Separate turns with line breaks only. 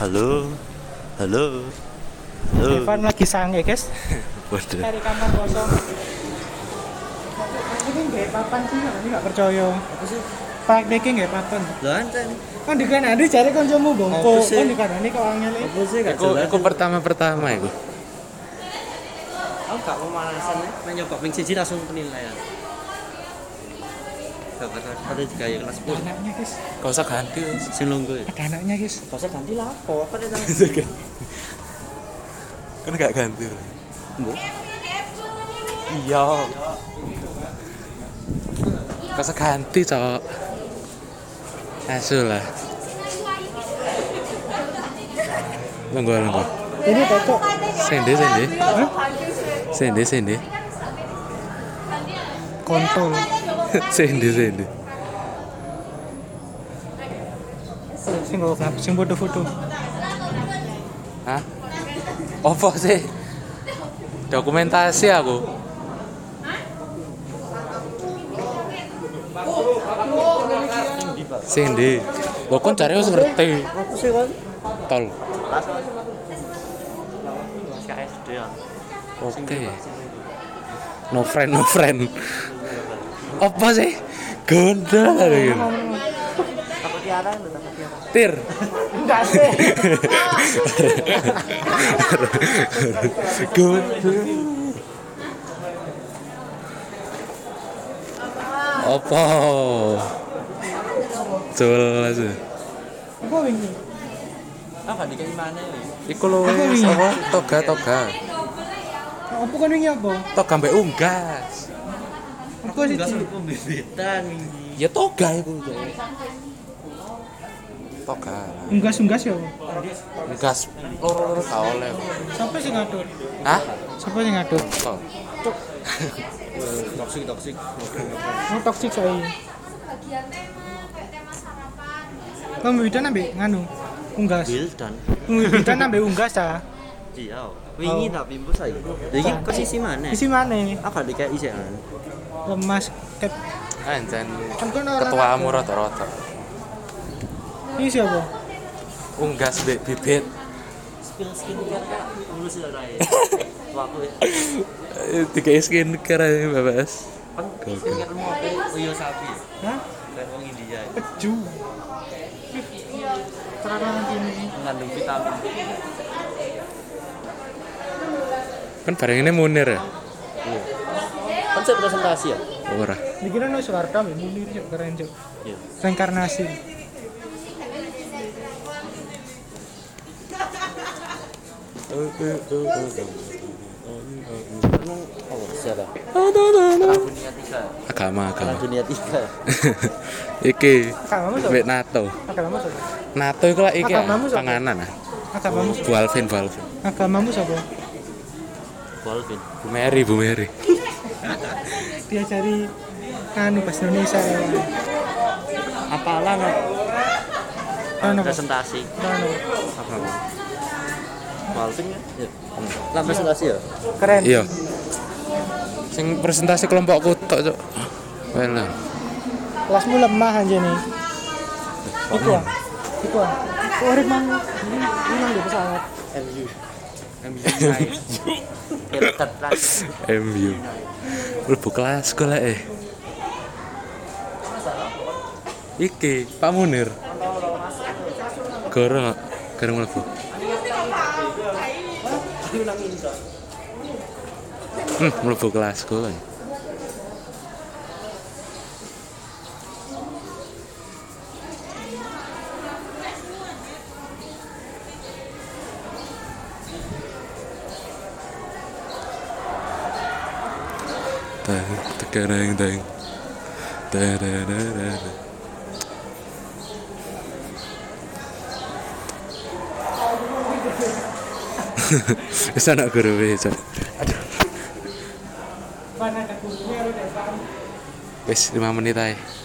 Halo. Halo. Halo.
Evan lagi sange guys
Iya.
Waduh.
cari kamar kosong ini nggak papan sih ini nggak percaya
Apa sih?
praktekin nggak papan
Lah anten.
kan di kanan ada cari kancamu bongko
Apa sih?
kan di kanan ini kau angin
Apa sih gak
Aku
jelas?
Oh, aku pertama-pertama iku.
Aku gak pemanasan ya. Main nyoba ping siji langsung penilaian. Gak pernah ada gaya ya, kelas 10.
anaknya guys
Kau usah ganti.
Sing lungguh ya.
ada anaknya guys
Gak usah ganti lah apa. Apa dia tahu?
Kan gak ganti.
Bu.
Iya. Kau usah ganti, Cok. Asu lah. Lungguh, lungguh.
ini cocok
Sende, sende. Sende, sende.
kontol
Sende, sende.
sing gue ngap sing bodoh foto
Hah? Apa sih? Dokumentasi aku. Sing ndi? Lho kon cari wis ngerti.
Apa sih kan?
Tol.
Kayak SD ya.
Oke. No friend, no friend. Apa sih? Gondol lagi.
Aku tiara lu tak tiara.
Tir.
enggak sih
Gondol. Apa? Jelas. ya.
aku wingi
Apa dikai Ah, mana ya?
Iku lho wis apa toga toga.
aku kan wingi apa
Toga mbek unggas.
aku sih
Enggak suruh pembebetan ini.
Ya toga iku. Toga.
unggas unggas ya
Unggas loro-loro ka oleh.
siapa sih ngatur
Hah? Oh,
siapa sih ngatur
Tol.
Toksik toksik.
mau toksik soalnya pembibitan kan ambek nganu unggas
Wildan.
pembibitan ambek unggas ah
Iya. Wingi tak pimpus saya. Jadi kok Iya. sisi mana?
isi mana
Apa dikai sih kan?
lemas ket
Anjen
kan kan orang
ketuamu
ngatur.
rata-rata.
ini siapa
Unggas mbek bibit.
Spill skincare kak. Lulus ya Rai. Waktu ya.
Eh, Tiga skin keren Bapak.
Kan skincare mau apa? Uyo Iya, sapi.
Hah?
Kayak orang India. ya.
peju terang ini
Mengandung vitamin.
Kan bareng ini Munir ya? Oh,
Kan saya presentasi ya.
Ora.
dikira no Soeharto ya munir cok keren cok
Iya.
reinkarnasi
Emang oh siapa? Perang dunia tiga.
Agama
Perang
agama.
dunia tiga.
Iki
agamamu
mbek
soalnya
NATO.
agamamu soalnya
NATO iku lah iki ah,
Agamamu sapa?
panganan ah.
agamamu soalnya
Bualvin, Bualvin.
agamamu soalnya
Golden.
Bu Mary, Bu Mary.
dia cari anu bahasa Indonesia ya
Apalah no?
anu bahasa
Presentasi.
anu
Apa? Golden ya. Iya. Lah presentasi ya.
keren
Iya. Sing presentasi kelompokku tok, Cuk. Wela.
kelasmu lemah aja nih itu ah itu ah urip mang ini ini mang di pesawat
MU. MU United. Kita terus.
MU. Mlebu kelas gue lah eh. Iki, Pak Munir. Goro, goro mlebu. Hmm, mlebu kelas gue. Teng, tekereng, teng. Tadadadada. Wis anak guru wis. Cok.
mana ada gurunya lu deh paham
Wis 5 menit ae.